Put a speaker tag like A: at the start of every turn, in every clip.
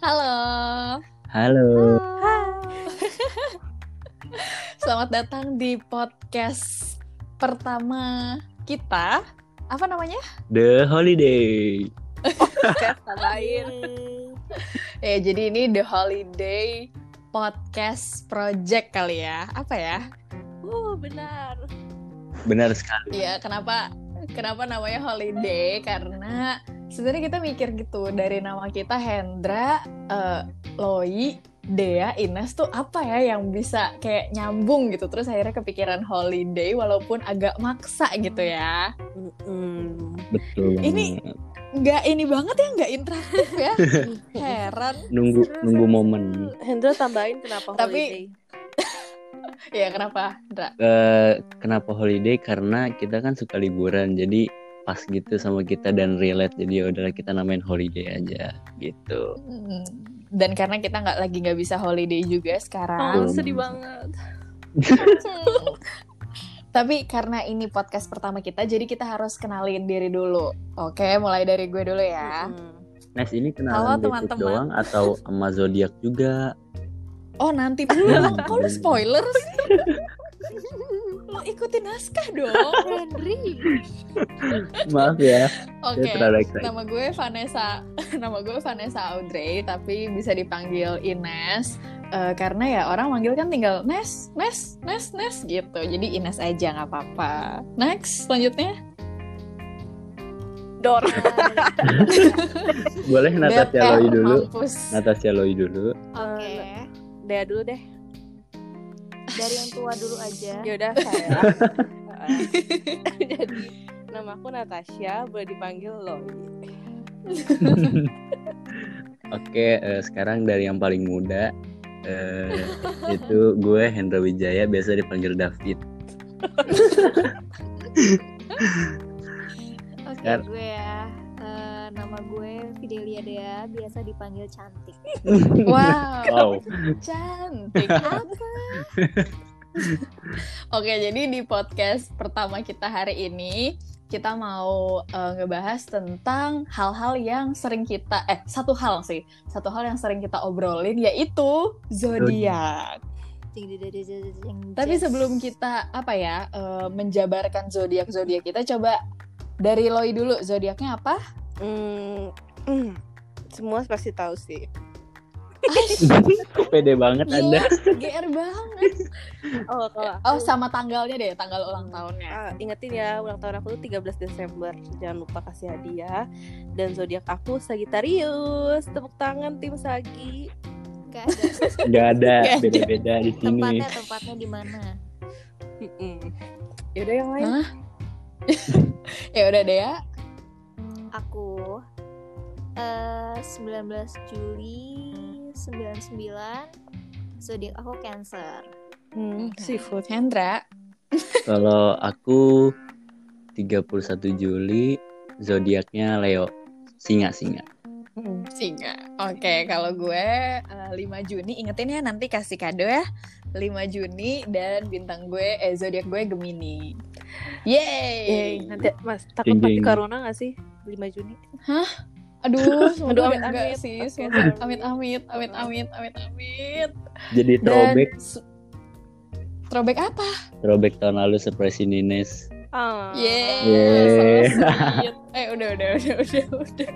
A: Halo.
B: Halo.
A: Selamat datang di podcast pertama kita. Apa namanya?
B: The Holiday.
C: podcast tambahin
A: Ya, jadi ini The Holiday Podcast Project kali ya. Apa ya?
C: uh benar
B: Benar sekali.
A: Ya, kenapa kenapa namanya holiday? Karena sebenarnya kita mikir gitu dari nama kita Hendra, eh, Loi, Dea, Ines tuh apa ya yang bisa kayak nyambung gitu. Terus akhirnya kepikiran holiday walaupun agak maksa gitu ya.
B: Betul.
A: Ini-
B: banget.
A: nggak ini banget ya nggak interaktif ya heran
B: nunggu nunggu momen.
C: Hendra tambahin kenapa
A: Tapi- ya kenapa Dra?
B: Eh, kenapa holiday? Karena kita kan suka liburan. Jadi pas gitu sama kita dan relate. Jadi ya udahlah kita namain holiday aja gitu.
A: Hmm. dan karena kita nggak lagi nggak bisa holiday juga sekarang
B: Oh.
C: sedih banget
A: Hmm. tapi karena ini podcast pertama kita jadi kita harus kenalin diri dulu oke mulai dari gue dulu ya
B: Nes ini
A: Halo,
B: kenalan basic
A: teman-teman.
B: doang atau sama zodiak juga?
A: oh nanti dulu
B: Hmm.
A: kok lu spoiler sih lo ikutin naskah dong
C: Henry
B: Maaf ya.
A: oke
B: Saya terlalu excited.
A: Nama gue Vanessa, nama gue Vanessa Audrey, tapi bisa dipanggil Ines. Eh, karena ya orang manggil kan tinggal Nes, Nes, Nes, Nes gitu. Jadi Ines aja nggak apa-apa. Next, selanjutnya.
C: Dor Iya.
B: Boleh Natasha
A: Beb,
B: Loi
A: eh,
B: Nah, dulu. Nah,
A: mampus.
B: Natasha Loi dulu.
C: Oke. Dea dulu deh
D: dari yang tua dulu aja.
C: yaudah saya Eh, jadi nama aku Natasha boleh dipanggil Loi
B: Oke, eh, sekarang dari yang paling muda eh, itu gue Hendra Wijaya, biasa dipanggil David.
D: Oke,
B: Yar.
D: gue ya. Eh, nama gue Fidelia Dea, biasa dipanggil cantik.
A: Wow,
B: Wow.
A: cantik. Apa? Oke, jadi di podcast pertama kita hari ini kita mau eh, ngebahas tentang hal-hal yang sering kita eh satu hal sih, satu hal yang sering kita obrolin yaitu zodiak.
D: Ting, di- di- di- di- di- ting,
A: Tapi
D: jazz.
A: sebelum kita apa ya eh, menjabarkan zodiak-zodiak kita coba dari Loi dulu zodiaknya apa?
C: Hmm, hmm, semua pasti tahu sih
B: Kok pede banget Anda?
A: Gila, GR Iya, banget.
C: oh kalau
A: Oh, sama tanggalnya deh, tanggal ulang tahunnya.
C: Ah, ingetin ya ulang tahun aku tuh 13 Desember. Jangan lupa kasih hadiah. Dan zodiak aku Sagittarius. Tepuk tangan tim Sagi.
D: Gak ada.
B: Nggak ada,
A: Nggak ada.
B: beda-beda di sini.
D: tempatnya tempatnya di mana?
C: Mm-mm. Yaudah yang lain.
A: Hah? Ya udah deh ya.
D: Aku eh 19 Juli 99 zodiak aku Cancer.
C: Hmm, seafood.
A: Hendra.
B: Kalau aku 31 Juli zodiaknya Leo. Singa-singa.
C: Mm-mm.
A: Singa. Oke, kalau gue eh, 5 Juni ingetin ya nanti kasih kado ya. 5 Juni dan bintang gue eh zodiak gue Gemini. Yeay. Iya,
C: Yeay, nanti Eh, Mas takut
B: Ding,
C: mati
B: ding.
C: corona gak sih? 5 Juni.
A: Aduh,
C: Aduh,
A: semoga
C: amit-amit.
A: enggak sih.
C: Oke,
A: Semoga
C: amit.
A: amit-amit, amit-amit, amit-amit.
B: Jadi throwback,
A: su- throwback apa?
B: throwback tahun lalu surprise Nines.
C: Ah.
A: Yeay.
B: Yeay.
A: Selamat. Eh, udah, udah, udah, udah, udah.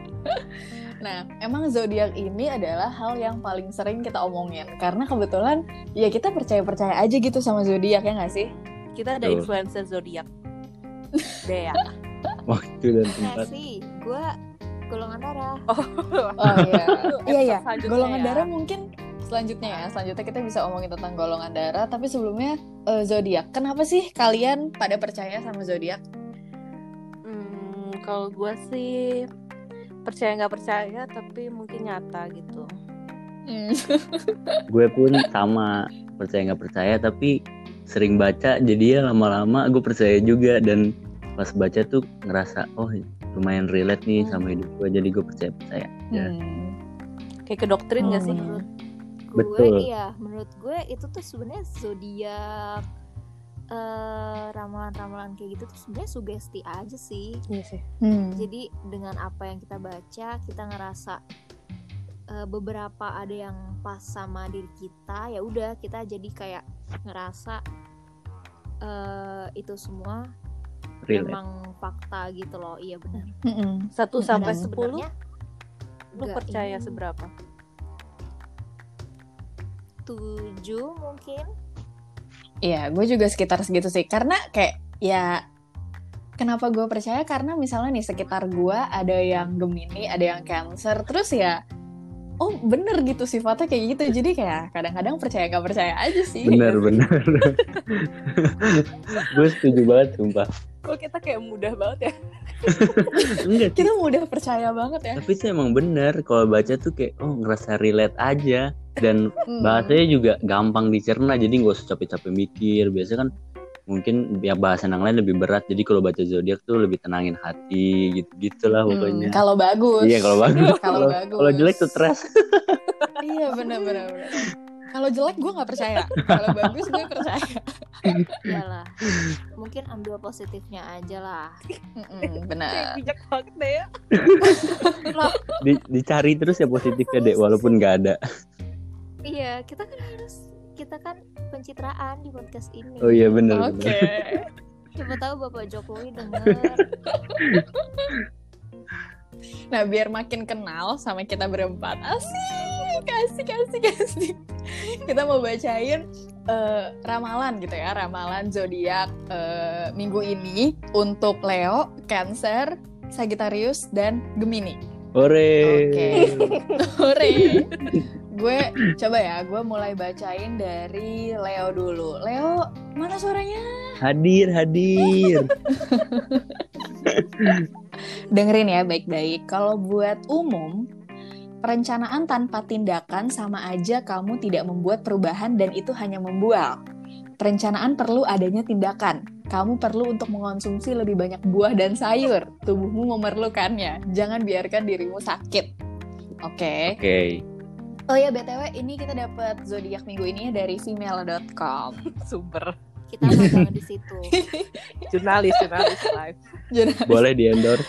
A: Nah, emang zodiak ini adalah hal yang paling sering kita omongin karena kebetulan ya kita percaya-percaya aja gitu sama zodiak ya nggak sih?
C: Kita ada
B: Betul.
C: influencer zodiak. Dea.
A: Iya,
B: Waktu dan tempat.
D: Nggak sih, gue Nah, golongan darah.
A: Oh iya. Iya ya.
C: Selanjutnya
A: Golongan
C: ya.
A: darah mungkin selanjutnya ya. Selanjutnya kita bisa omongin tentang golongan darah, tapi sebelumnya eh, zodiak. Kenapa sih kalian pada percaya sama zodiak?
C: Hmm, kalau gue sih percaya nggak percaya tapi mungkin nyata gitu.
B: Gue pun sama percaya nggak percaya tapi sering baca jadi ya lama-lama gue percaya juga dan pas baca tuh ngerasa oh lumayan relate nih sama hidup gue jadi gue percaya percaya Ya.
A: Hmm.
C: Kayak ke doktrin nggak sih?
A: Hmm.
B: Betul.
D: Gue iya, menurut gue itu tuh sebenarnya zodiak eh ramalan-ramalan kayak gitu tuh sebenarnya sugesti aja sih.
C: Iya sih.
A: Hmm.
D: Jadi dengan apa yang kita baca, kita ngerasa e, eh, beberapa ada yang pas sama diri kita ya udah kita jadi kayak ngerasa eh, itu semua
B: relate
D: memang fakta gitu loh iya benar
A: Mm-mm.
C: Satu
A: Mm-mm.
C: sampai
D: Dan
C: sepuluh,
D: sebenarnya
C: lu
D: nggak
C: percaya
D: ini.
C: seberapa?
D: tujuh mungkin
A: Iya, gue juga sekitar segitu sih. Karena kayak ya kenapa gue percaya karena misalnya nih sekitar gue ada yang Gemini, ada yang Cancer, terus ya oh bener gitu sifatnya kayak gitu. Jadi kayak kadang-kadang percaya gak percaya aja sih.
B: bener bener gue setuju banget sumpah
C: Kok kita kayak mudah banget ya?
B: enggak sih.
A: Kita mudah percaya banget ya.
B: tapi itu emang bener kalau baca tuh kayak oh ngerasa relate aja dan
A: Hmm.
B: bahasanya juga gampang dicerna jadi nggak usah capek-capek mikir biasanya kan mungkin ya bahasan yang lain lebih berat jadi kalau baca zodiak tuh lebih tenangin hati gitu gitulah
A: Hmm,
B: pokoknya
A: kalau bagus.
B: Iya, kalau bagus.
A: Kalau
B: Kalau-
A: bagus.
B: kalau jelek tuh stres
A: Iya bener-bener. Kalau jelek gue nggak percaya. Kalau bagus gue percaya.
D: iyalah Ya mungkin ambil positifnya aja lah
A: Mm-mm,
C: Kayak
A: Hmm, bener.
C: bijak banget deh ya.
B: Di- dicari terus ya positifnya deh walaupun nggak ada
D: iya kita kan harus kita kan pencitraan di podcast ini
B: oh iya bener
A: Oke.
B: bener.
D: siapa tahu bapak jokowi denger
A: Nah, biar makin kenal sama kita berempat. Asik, asik, asik, asik. Kita mau bacain eh, ramalan gitu ya, ramalan zodiak eh, minggu ini untuk Leo, Cancer, Sagittarius dan Gemini.
B: ore
A: Oke. Hore. gue coba ya, gue mulai bacain dari Leo dulu. Leo, mana suaranya?
B: hadir hadir
A: Dengerin ya baik-baik. Kalau buat umum, perencanaan tanpa tindakan sama aja kamu tidak membuat perubahan dan itu hanya membual. Perencanaan perlu adanya tindakan. Kamu perlu untuk mengonsumsi lebih banyak buah dan sayur. Tubuhmu memerlukannya. Jangan biarkan dirimu sakit. Oke.
B: oke
A: Oh ya BTW ini kita dapat zodiak minggu ini dari female.com.
C: Super.
D: kita magang di situ
C: Jurnalis, jurnalis live.
A: Jadi-
B: boleh di endorse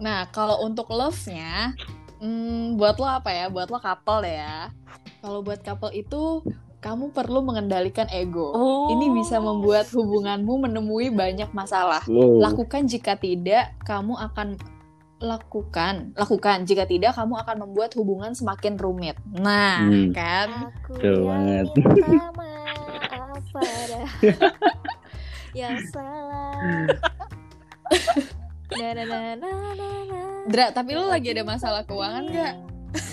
A: Nah, kalau untuk love-nya, hmm, buat lo apa ya? Buat lo couple ya. Kalau buat couple itu, kamu perlu mengendalikan ego.
C: Oh.
A: Ini bisa membuat hubunganmu menemui banyak masalah.
B: wow.
A: Lakukan jika tidak, kamu akan lakukan, lakukan. Jika tidak, kamu akan membuat hubungan semakin rumit. Nah,
B: Hmm.
A: kan?
D: aku
B: Betul banget.
D: yang pertama apa dah yang salah na na na na na na.
A: Dra, tapi lo lagi ada masalah keuangan nggak?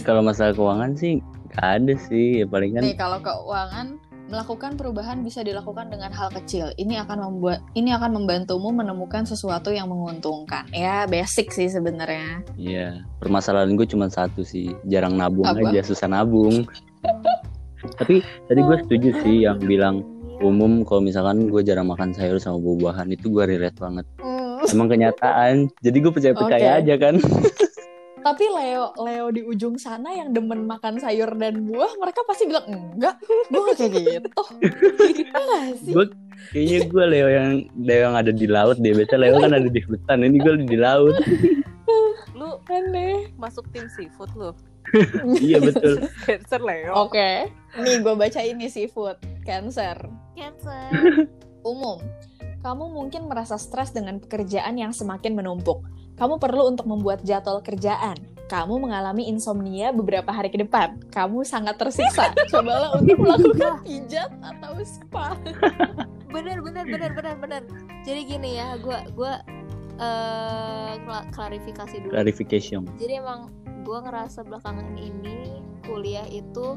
B: kalau masalah keuangan sih nggak ada sih ya paling kan
A: Nih kalau keuangan melakukan perubahan bisa dilakukan dengan hal kecil. Ini akan membuat ini akan membantumu menemukan sesuatu yang menguntungkan. Ya, basic sih sebenarnya.
B: Iya, permasalahan gue cuma satu sih, jarang nabung
A: Apa?
B: aja, susah nabung. Tapi tadi gue setuju sih yang bilang um- umum kalau misalkan gue jarang makan sayur sama buah-buahan itu gue relate banget. Emang kenyataan. Jadi gue percaya percaya
A: Hmm. Oke.
B: aja kan.
A: Tapi Leo Leo di ujung sana yang demen makan sayur dan buah, mereka pasti bilang enggak, gue nggak kayak gitu. Iya nggak sih?
B: Gue kayaknya gue Leo yang Leo yang ada di laut deh. Biasanya Leo kan ada di hutan, ini gue di laut.
C: Lu
A: Aneh.
C: masuk tim seafood lu.
B: Iya betul.
C: Cancer Leo.
A: Oke. Nih gue baca ini seafood cancer.
D: Cancel.
A: umum. Kamu mungkin merasa stres dengan pekerjaan yang semakin menumpuk. Kamu perlu untuk membuat jadwal kerjaan. Kamu mengalami insomnia beberapa hari ke depan. Kamu sangat tersiksa. Cobalah untuk melakukan pijat atau spa.
D: bener bener bener bener bener jadi gini ya gua gua eh, kla- klarifikasi dulu
B: Clarification.
D: jadi emang gua ngerasa belakangan ini kuliah itu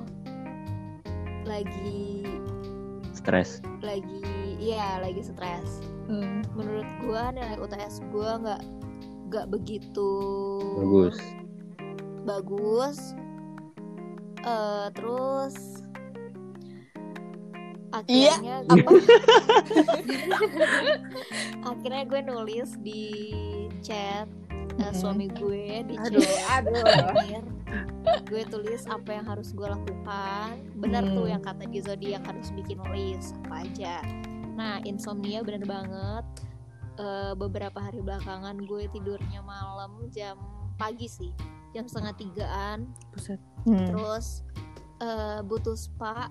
D: lagi
B: Stres.
D: lagi iya lagi stres
A: Hmm.
D: menurut gua nilai UTS gua nggak nggak begitu
B: Bagus.
D: bagus Eh, terus
C: Iya.
D: akhirnya
A: Apa?
D: gua- akhirnya gue nulis di chat eh,
A: Mm-mm.
D: suami gue di
C: Mm-hmm. Aduh,
D: chat
C: aduh.
D: Akhir, gue tulis apa yang harus gue lakukan benar tuh
A: Mm.
D: yang kata di zodiak harus bikin list apa aja nah insomnia bener banget Eh, beberapa hari belakangan gue tidurnya malam jam pagi sih jam setengah tigaan
C: Buset.
A: Hmm.
D: terus eh, butuh spa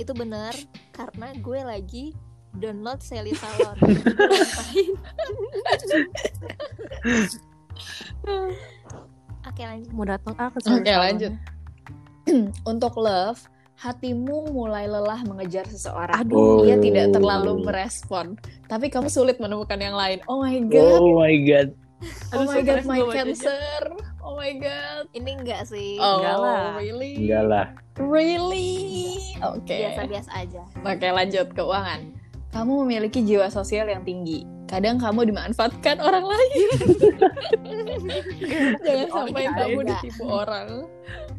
D: itu bener karena gue lagi download Sally Salon Ngapain? oke lanjut
C: mau datang ah ke
A: Oke,
C: salon-salon.
A: lanjut. Untuk love, hatimu mulai lelah mengejar seseorang.
B: Aduh.
A: Ia
B: Oh.
A: tidak terlalu merespon, tapi kamu sulit menemukan yang lain. Oh my god.
B: Oh my god.
A: Oh,
C: Aduh,
A: my god,
C: stres ya.
A: my
C: gua bacanya.
A: cancer. Oh my god.
D: ini enggak sih
A: Oh,
C: Enggak lah.
A: really?
B: Enggak lah.
A: Really? Oke.
D: biasa-biasa aja
A: Oke, lanjut keuangan. Kamu memiliki jiwa sosial yang tinggi. Kadang kamu dimanfaatkan orang lain. Jangan
D: Oh,
A: sampai
D: iya,
A: kamu
D: iya.
A: ditipu orang.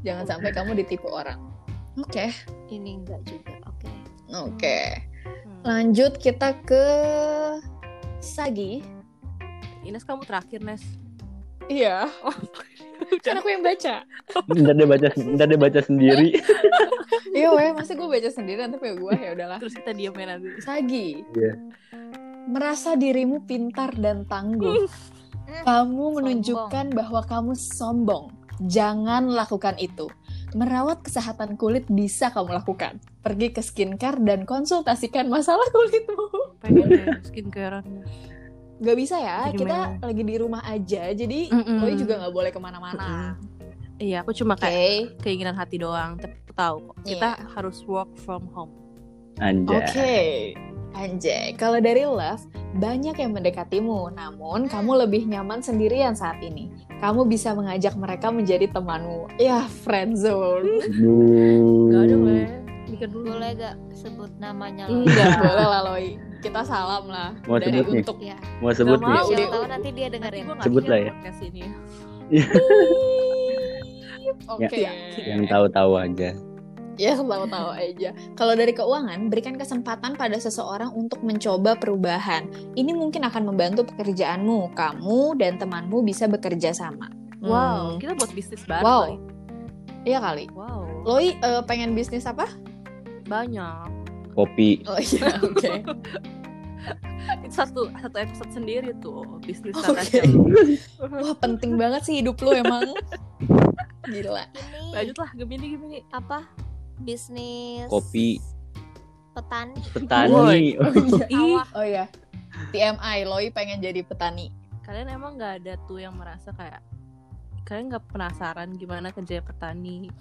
A: Jangan sampai kamu ditipu orang. Oke,
D: ini enggak juga oke
A: oke.
C: Hmm.
A: Lanjut kita ke Sagi.
C: Ines kamu terakhir Nes
A: Iya. Kan aku yang baca.
B: Ntar dia baca, ntar dia baca sendiri.
A: Iya, weh, masa gue baca sendirian tapi ya gue ya udahlah.
C: terus kita diamin nanti
A: Sagi.
B: Iya.
A: Merasa dirimu pintar dan tangguh. Kamu
D: Sombong.
A: menunjukkan bahwa kamu sombong. Jangan lakukan itu. Merawat kesehatan kulit bisa kamu lakukan. Pergi ke skincare dan konsultasikan masalah kulitmu.
C: pengen deh skincarean
A: Gak bisa ya,
C: Jadi
A: kita
C: memang-
A: lagi di rumah aja. Jadi
C: Mm-mm.
A: Loi juga gak boleh kemana-mana.
C: iya aku cuma
A: Oke.
C: kayak keinginan hati doang tapi aku tahu kok kita
A: Iya.
C: harus work from home
B: Anjay.
A: Oke, Anjay. Kalau dari love, banyak yang mendekatimu, namun kamu lebih nyaman sendirian saat ini. Kamu bisa mengajak mereka menjadi temanmu. Ya, friendzone.
B: Duh.
C: Gak ada boleh mikir
A: Hmm.
C: dulu
D: boleh gak sebut namanya lo
A: Enggak boleh lah, Loi. Kita salam lah.
B: Mau
A: dari
B: sebut nih?
A: untuk
D: ya
B: Mau sebut
A: Iya,
C: Gak
B: nih?
C: mau.
D: siapa
A: udah.
D: tahu nanti dia
C: Nanti
D: dengerin
C: gua
B: Sebut
C: ngasih
B: lah
C: ya
B: ya.
C: podcast ini
A: Hmm. Oke.
B: Ya.
A: Iya.
B: Yang tahu-tahu aja.
A: Ya, tahu-tahu aja. Kalau dari keuangan, berikan kesempatan pada seseorang untuk mencoba perubahan. Ini mungkin akan membantu pekerjaanmu. Kamu dan temanmu bisa bekerja sama.
C: wow
A: Hmm.
C: kita buat bisnis bareng
A: Wow.
C: Loi.
A: Iya kali.
C: wow
A: Loi eh, pengen bisnis apa?
C: banyak
B: Kopi.
A: Oh iya, oke.
C: itu satu satu episode sendiri tuh bisnis
A: Oke.
C: okay.
A: Wah, penting banget sih hidup lu emang. Gila.
D: ini
C: lanjutlah gemini gemini
D: apa bisnis
B: Kopi.
D: petani
B: Petani.
C: Ih,
D: sawah
A: Oh iya. TMI, Loi pengen jadi petani.
C: kalian emang nggak ada tuh yang merasa kayak kalian nggak penasaran gimana kerja petani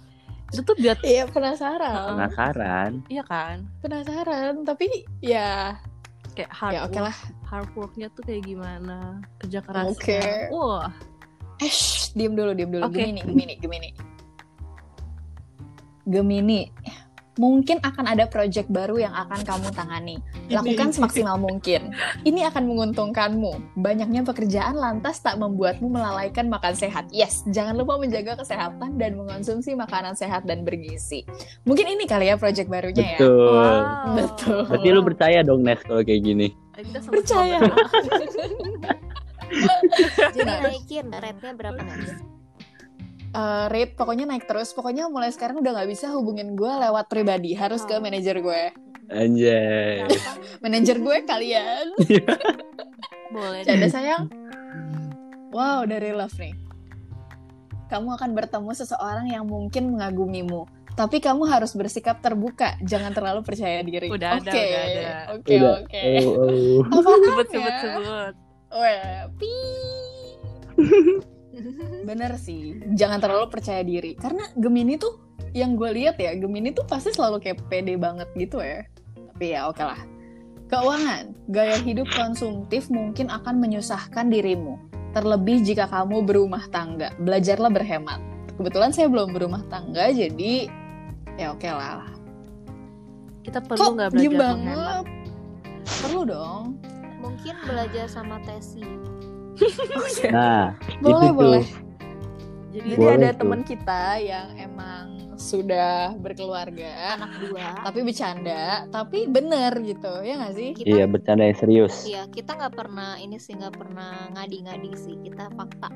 C: itu tuh biar
A: Iya, penasaran.
B: Penasaran.
C: iya kan
A: Penasaran, tapi ya
C: kayak hard
A: ya oke
C: work
A: lah.
C: hard worknya tuh kayak gimana kerja kerasnya
A: Oke.
C: wah
A: Eh, shh, diem dulu, diem dulu.
C: Oke.
A: Gemini, Gemini, Gemini. Gemini, mungkin akan ada project baru yang akan kamu tangani. Lakukan semaksimal mungkin. Ini akan menguntungkanmu. Banyaknya pekerjaan lantas tak membuatmu melalaikan makan sehat. Yes, jangan lupa menjaga kesehatan dan mengonsumsi makanan sehat dan bergizi. Mungkin ini kali ya project barunya ya.
B: Betul.
C: Wow.
A: Betul.
B: Berarti lu percaya dong Nes kalau kayak gini.
C: Eh, kita sama-sama
A: Percaya.
C: berdoa.
D: jadi naikin rate-nya berapa nanti
A: Eh, rate pokoknya naik terus. Pokoknya mulai sekarang udah nggak bisa hubungin gue lewat pribadi. Harus ke
D: Oh.
A: manajer gue.
B: Anjay.
A: Manajer gue kalian.
C: boleh
A: Canda sayang. Wow, dari love nih. Kamu akan bertemu seseorang yang mungkin mengagumimu. Tapi kamu harus bersikap terbuka, jangan terlalu percaya diri.
C: Udah
A: oke,
C: ada, udah ada.
A: oke,
B: Udah.
A: oke.
B: Oh, oh.
A: Apaan
C: sebut
A: ya?
C: sebut sebut
A: Weh, piiiip. Bener sih, jangan terlalu percaya diri. Karena Gemini tuh, yang gue lihat ya, Gemini tuh pasti selalu kayak pede banget gitu ya. Tapi ya oke lah. Keuangan, gaya hidup konsumtif mungkin akan menyusahkan dirimu. Terlebih jika kamu berumah tangga, belajarlah berhemat. Kebetulan saya belum berumah tangga, jadi ya oke lah.
C: kita perlu
A: Kok
C: nggak
A: diem
C: belajar menghemat
A: banget? Perlu dong.
D: mungkin belajar sama Tesi
B: Nah,
A: Boleh,
B: itu
A: boleh.
B: tuh.
C: jadi
A: Jadi
B: Boleh
A: ada
B: tuh.
A: teman kita yang emang sudah berkeluarga,
D: anak dua
A: tapi bercanda, tapi bener gitu, ya nggak sih?
D: kita
B: Iya, bercanda yang serius.
D: Iya, kita nggak pernah ini sih nggak pernah ngadi-ngadi sih. Kita fakta.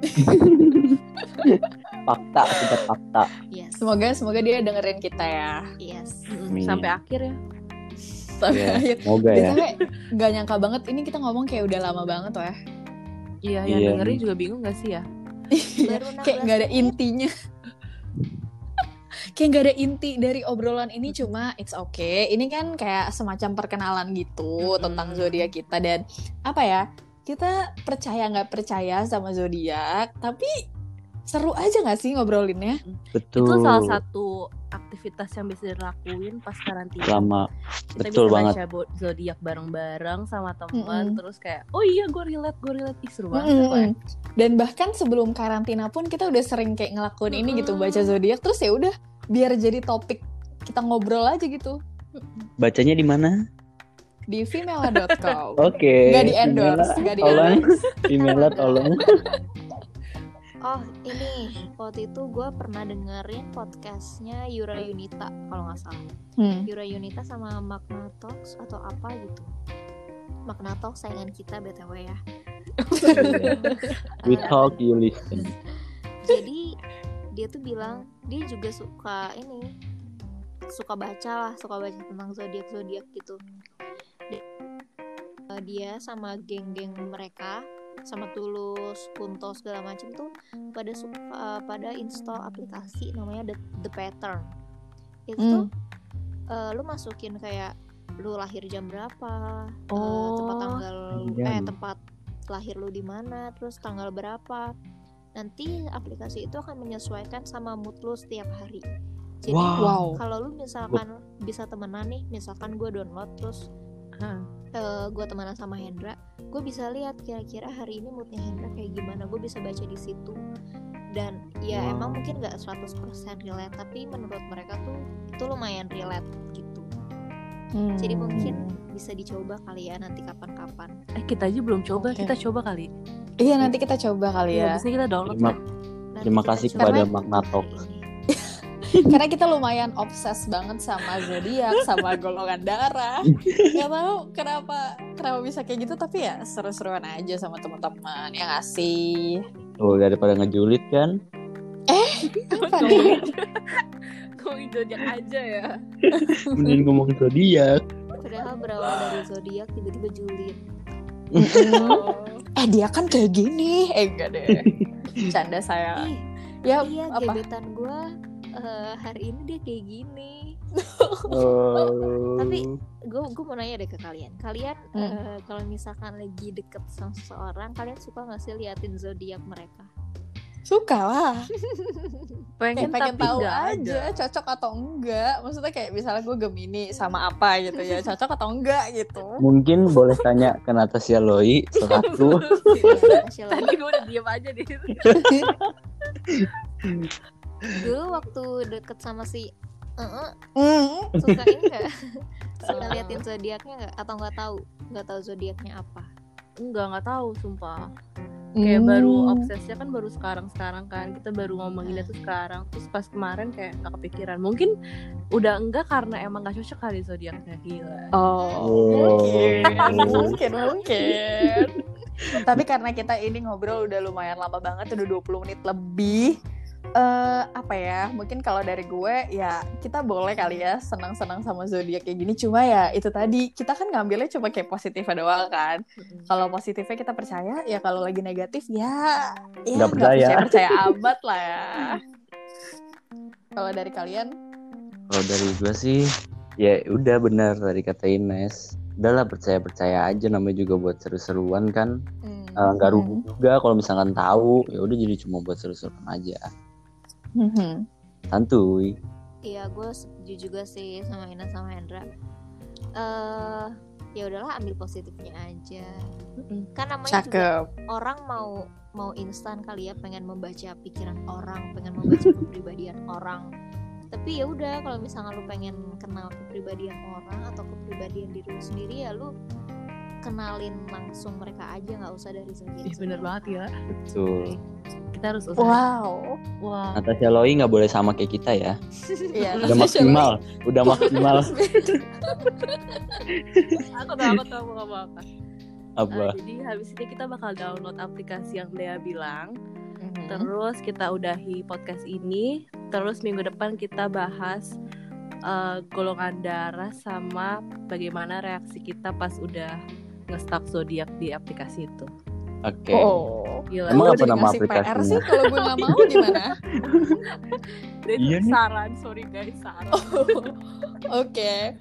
B: Fakta, kita fakta.
D: Yes.
A: Semoga semoga dia dengerin kita ya.
D: Yes.
C: Mm, sampai akhir ya
A: Sampai
B: Iya,
A: akhir.
B: Semoga ya.
A: Biasanya nggak nyangka banget ini kita ngomong kayak udah lama banget ya.
C: iya yang
B: Iya.
C: ya? dengerin juga bingung gak sih ya
D: Baru 16
A: kayak nggak ada
D: menit.
A: intinya. kayak nggak ada inti dari obrolan ini cuma it's okay ini kan kayak semacam perkenalan gitu
C: Mm-mm.
A: tentang zodiak kita dan apa ya kita percaya nggak percaya sama zodiak tapi seru aja nggak sih ngobrolinnya
B: betul
C: Itu salah satu aktivitas yang bisa dilakuin pas karantina.
B: lama
C: kita
B: betul
C: bisa
B: banget.
C: baca bo- zodiak bareng-bareng sama teman,
A: Mm-mm.
C: terus kayak oh iya gue relate, gue relate Ih, seru banget
A: Mm-mm. Eh,
C: kok ya.
A: dan bahkan sebelum karantina pun kita udah sering kayak ngelakuin ini gitu
C: Mm-mm.
A: baca zodiak terus ya udah biar jadi topik kita ngobrol aja gitu
B: bacanya di mana
A: di femela.com
B: oke
A: nggak di endorse nggak di
B: tolong.
A: endorse
B: email tolong
D: Oh ini waktu itu gue pernah dengerin podcastnya Yura Yunita kalau nggak salah.
A: Hmm.
D: Yura Yunita sama Magna Talks atau apa gitu. Magna Talks saingan kita btw ya.
B: we
D: Eh,
B: talk you listen
D: jadi dia tuh bilang dia juga suka ini suka baca lah suka baca tentang zodiak zodiak gitu Di- eh, dia sama geng-geng mereka sama tulus kunto segala macem tuh pada suka eh, pada install aplikasi namanya the, The pattern itu
A: Hmm.
D: tuh eh, lu masukin kayak lu lahir jam berapa eh, tempat
A: Oh.
D: tanggal lu-
B: Jam.
D: eh tempat lahir lu di mana terus tanggal berapa nanti aplikasi itu akan menyesuaikan sama mood lu setiap hari jadi
B: Wow.
A: wow
D: kalau lu misalkan bisa temenan nih misalkan gue download terus
C: Hah.
D: gue temenan sama Hendra gue bisa lihat kira-kira hari ini moodnya Hendra kayak gimana gue bisa baca di situ dan ya
B: Wow.
D: emang mungkin gak 100% relate tapi menurut mereka tuh itu lumayan relate gitu jadi
A: Hmm.
D: mungkin bisa dicoba kali ya nanti kapan-kapan
C: Eh kita aja belum coba,
A: Oke.
C: kita coba kali.
A: iya nanti kita coba kali ya
C: Habis ini kita download.
B: Terima-
C: lah.
D: Nanti
B: Terima
D: kita
B: kasih
D: coba
A: kepada
D: hari
B: Magnatok.
D: ini.
A: karena kita lumayan obses banget sama zodiak sama golongan darah nggak tahu kenapa kenapa bisa kayak gitu tapi ya seru-seruan aja sama teman-teman ya yang ngasih
B: tuh Oh, daripada ngejulit kan
A: apa nih
C: Ngomongin zodiak aja ya.
B: mending ngomong zodiak
D: padahal berawal dari zodiak tiba-tiba julid Oh.
A: eh dia kan kayak gini eh enggak deh canda saya
D: Ih,
A: ya
D: iya
A: apa
D: gebetan gue hari ini dia kayak gini
B: Oh.
D: Tapi- gue gue mau nanya deh ke kalian kalian
A: Hmm.
D: eh, kalau misalkan lagi deket sama seseorang kalian suka nggak sih liatin zodiak mereka
A: suka lah kayak
C: Pengen,
A: pengen
C: tapi
A: tahu
C: nggak ada.
A: aja cocok atau enggak maksudnya kayak misalnya gue gemini sama apa gitu ya cocok atau enggak gitu
B: mungkin boleh tanya ke Natasha Loi selaku
D: Masya Allah.
C: Tadi gue udah diem aja di situ.
D: dulu waktu deket sama si eh
A: Mm.
D: suka ini nggak suka liatin zodiaknya nggak atau nggak tahu nggak tahu zodiaknya apa
C: Enggak, nggak tahu sumpah. kayak baru
A: Hmm.
C: obsesnya kan baru sekarang sekarang kan kita baru ngomonginnya tuh sekarang terus pas kemarin kayak nggak kepikiran mungkin udah enggak karena emang nggak cocok kali zodiaknya gila
A: Oh,
B: Oh.
A: mungkin, mungkin, mungkin. Tapi karena kita ini ngobrol udah lumayan lama banget, udah 20 menit lebih. Eh apa ya? Mungkin kalau dari gue ya kita boleh kali ya senang-senang sama zodiak kayak gini. Cuma ya itu tadi kita kan ngambilnya cuma kayak positifnya doang kan. Kalau positifnya kita percaya, ya kalau lagi negatif ya ya
B: Nggak percaya.
A: percaya amat lah ya. Kalau dari kalian,
B: kalau dari gue sih ya udah benar dari kata Ines udahlah percaya percaya aja namanya juga buat seru-seruan kan
A: hmm,
B: Eh, nggak rugi juga kalau misalkan tahu ya udah jadi cuma buat seru-seruan aja
A: Mhm.
B: santuy
D: Iya, gue setuju juga sih sama Ina sama Hendra. Eh, ya udahlah ambil positifnya aja. Kan namanya juga
A: Mm-hmm. Cakep.
D: orang mau mau instan kali ya, pengen membaca pikiran orang, pengen membaca kepribadian orang. Tapi ya udah, kalau misalnya lu pengen kenal kepribadian orang atau kepribadian diri lu sendiri ya lu kenalin langsung mereka aja nggak usah dari zodiak.
C: Ih, bener banget ya
B: betul
C: kita harus usaha
A: Wow.
C: wah
B: Natasha Loi nggak boleh sama kayak kita ya
A: Iya,
B: udah maksimal udah maksimal
C: aku tahu aku tahu mau ngomong apa
B: apa
C: Eh, jadi habis ini kita bakal download aplikasi yang Dea bilang
A: Hmm.
C: Gitu. terus kita udahi podcast ini terus minggu depan kita bahas eh, golongan darah sama bagaimana reaksi kita pas udah nge-stalk zodiak di aplikasi itu.
B: oke Oke.
A: Oh.
C: Gila.
A: Gua
B: Emang apa
A: udah
B: nama
A: dikasih PR
B: aplikasinya?
A: sih kalau gue nggak mau gimana?
C: Itu
B: Iya nih.
C: saran, sorry guys, saran.
A: Oh, Oke.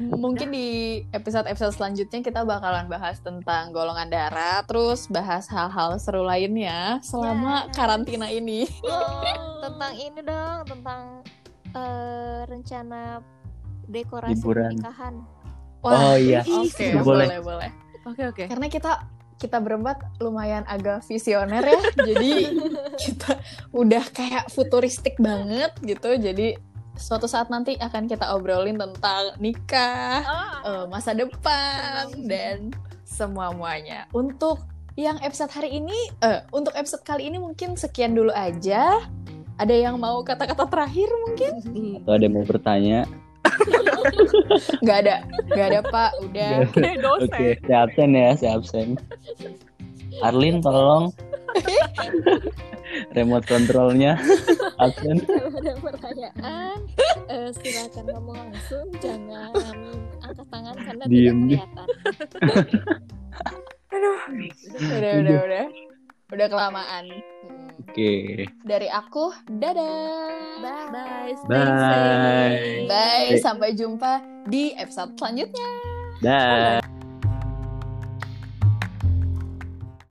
A: Mungkin di episode-episode selanjutnya kita bakalan bahas tentang golongan darah, terus bahas hal-hal seru lainnya selama
D: Yes.
A: karantina ini.
D: tentang ini dong tentang eh, rencana dekorasi
B: Liburan.
D: pernikahan
B: Oh, iya.
A: Oke,
C: Itu
A: boleh,
B: boleh.
A: boleh.
C: Oke, oke.
A: Karena kita kita berempat lumayan agak visioner ya, jadi kita udah kayak futuristik banget gitu. Jadi suatu saat nanti akan kita obrolin tentang nikah, eh, masa depan
D: Senang.
A: dan semua muanya. Untuk yang episode hari ini, eh, untuk episode kali ini mungkin sekian dulu aja. Ada yang mau kata-kata terakhir mungkin?
C: Hmm.
B: Atau ada yang mau bertanya?
A: Nggak ada, nggak ada Pak. Udah.
C: Oke, dosen.
B: Oke, saya absen ya, saya absen. Arlin tolong remote kontrolnya absen.
D: Kalau ada pertanyaan eh, silakan ngomong langsung jangan angkat tangan karena
B: Diem, diem.
D: tidak kelihatan
A: Udah, udah, udah. Udah kelamaan. Hmm.
B: Oke.
A: Dari aku,
D: Eh,
A: dadah.
D: bye
B: Bye.
A: Bye, sampai jumpa di episode selanjutnya.
B: Dah.